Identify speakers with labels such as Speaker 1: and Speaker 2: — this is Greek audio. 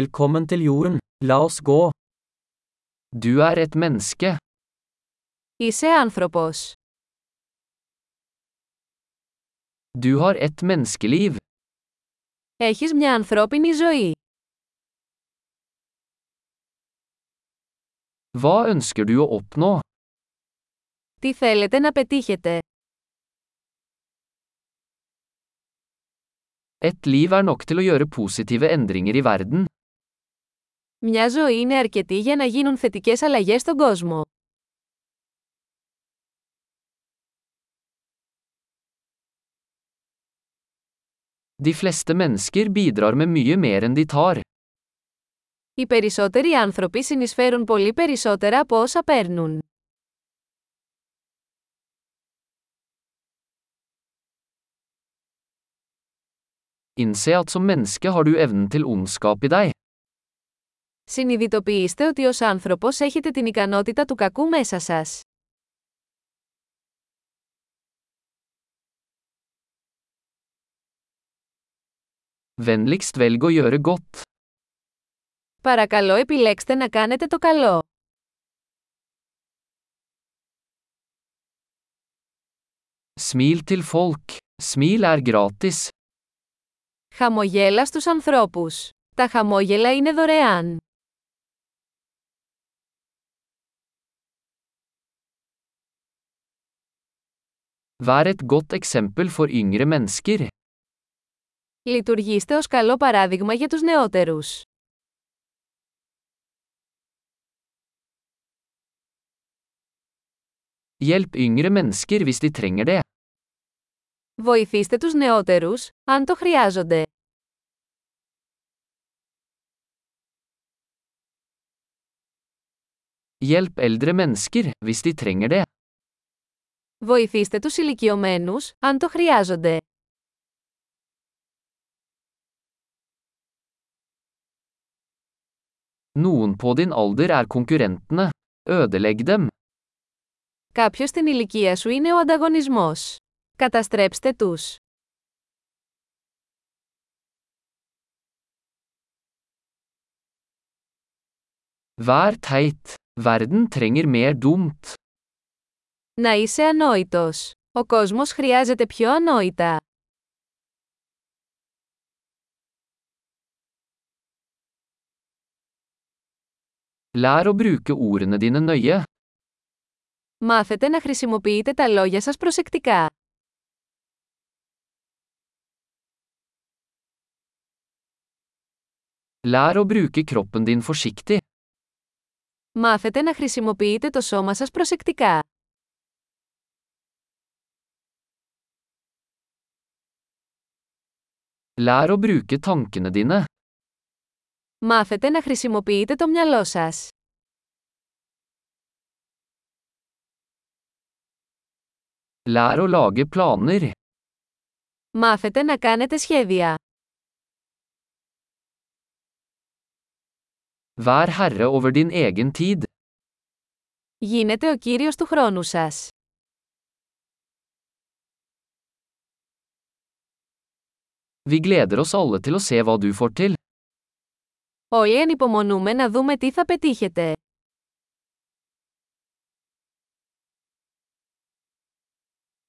Speaker 1: Velkommen til jorden, la oss gå. Du er et menneske,
Speaker 2: Είσαι άνθρωπος.
Speaker 1: du har et menneskeliv,
Speaker 2: Έχεις μια ανθρώπινη ζωή.
Speaker 1: hva ønsker du å oppnå?
Speaker 2: Τι θέλετε να πετύχετε.
Speaker 1: Et liv er nok til å gjøre positive endringer i verden.
Speaker 2: Μια ζωή είναι αρκετή για να γίνουν θετικές αλλαγές στον κόσμο.
Speaker 1: De fleste mennesker bidrar med mye mer enn de tar.
Speaker 2: Οι περισσότεροι άνθρωποι συνεισφέρουν πολύ περισσότερα από όσα παίρνουν.
Speaker 1: Innse at som menneske har du evnen til ondskap i deg.
Speaker 2: Συνειδητοποιήστε ότι ως άνθρωπος έχετε την ικανότητα του κακού μέσα σας.
Speaker 1: Vennligst velg å gjøre godt.
Speaker 2: Παρακαλώ επιλέξτε να κάνετε το καλό.
Speaker 1: Smil til folk. Smil er gratis.
Speaker 2: Χαμογέλα στους ανθρώπους. Τα χαμόγελα είναι δωρεάν.
Speaker 1: Vær et godt eksempel for yngre mennesker.
Speaker 2: Λειτουργήστε ως καλό παράδειγμα για τους νεότερους.
Speaker 1: Hjelp yngre mennesker hvis de trenger det.
Speaker 2: Βοηθήστε τους νεότερους, αν το χρειάζονται.
Speaker 1: Hjelp eldre mennesker hvis de trenger det.
Speaker 2: Βοηθήστε τους ηλικιωμένους, αν το χρειάζονται.
Speaker 1: Noen på din alder er konkurrentene. Ødelegg dem.
Speaker 2: Κάποιος στην ηλικία σου είναι ο ανταγωνισμός. Καταστρέψτε τους.
Speaker 1: Vær teit. Verden trenger mer dumt.
Speaker 2: Να είσαι ανόητος. Ο κόσμος χρειάζεται πιο ανόητα.
Speaker 1: Lær å bruke ordene dine nøye.
Speaker 2: Μάθετε να χρησιμοποιείτε τα λόγια σας προσεκτικά.
Speaker 1: Lær å bruke kroppen din forsiktig.
Speaker 2: Μάθετε να χρησιμοποιείτε το σώμα σας προσεκτικά.
Speaker 1: Lær å bruke tankene dine.
Speaker 2: Μάθετε να χρησιμοποιείτε το μυαλό σας.
Speaker 1: Lær å lage planer.
Speaker 2: Μάθετε να κάνετε σχέδια.
Speaker 1: Vær herre over din egen tid.
Speaker 2: Γίνετε ο κύριος του χρόνου σας.
Speaker 1: Vi gleder oss alle til å se hva du får til.
Speaker 2: Όλοι ανυπομονούμε να δούμε τι θα πετύχετε.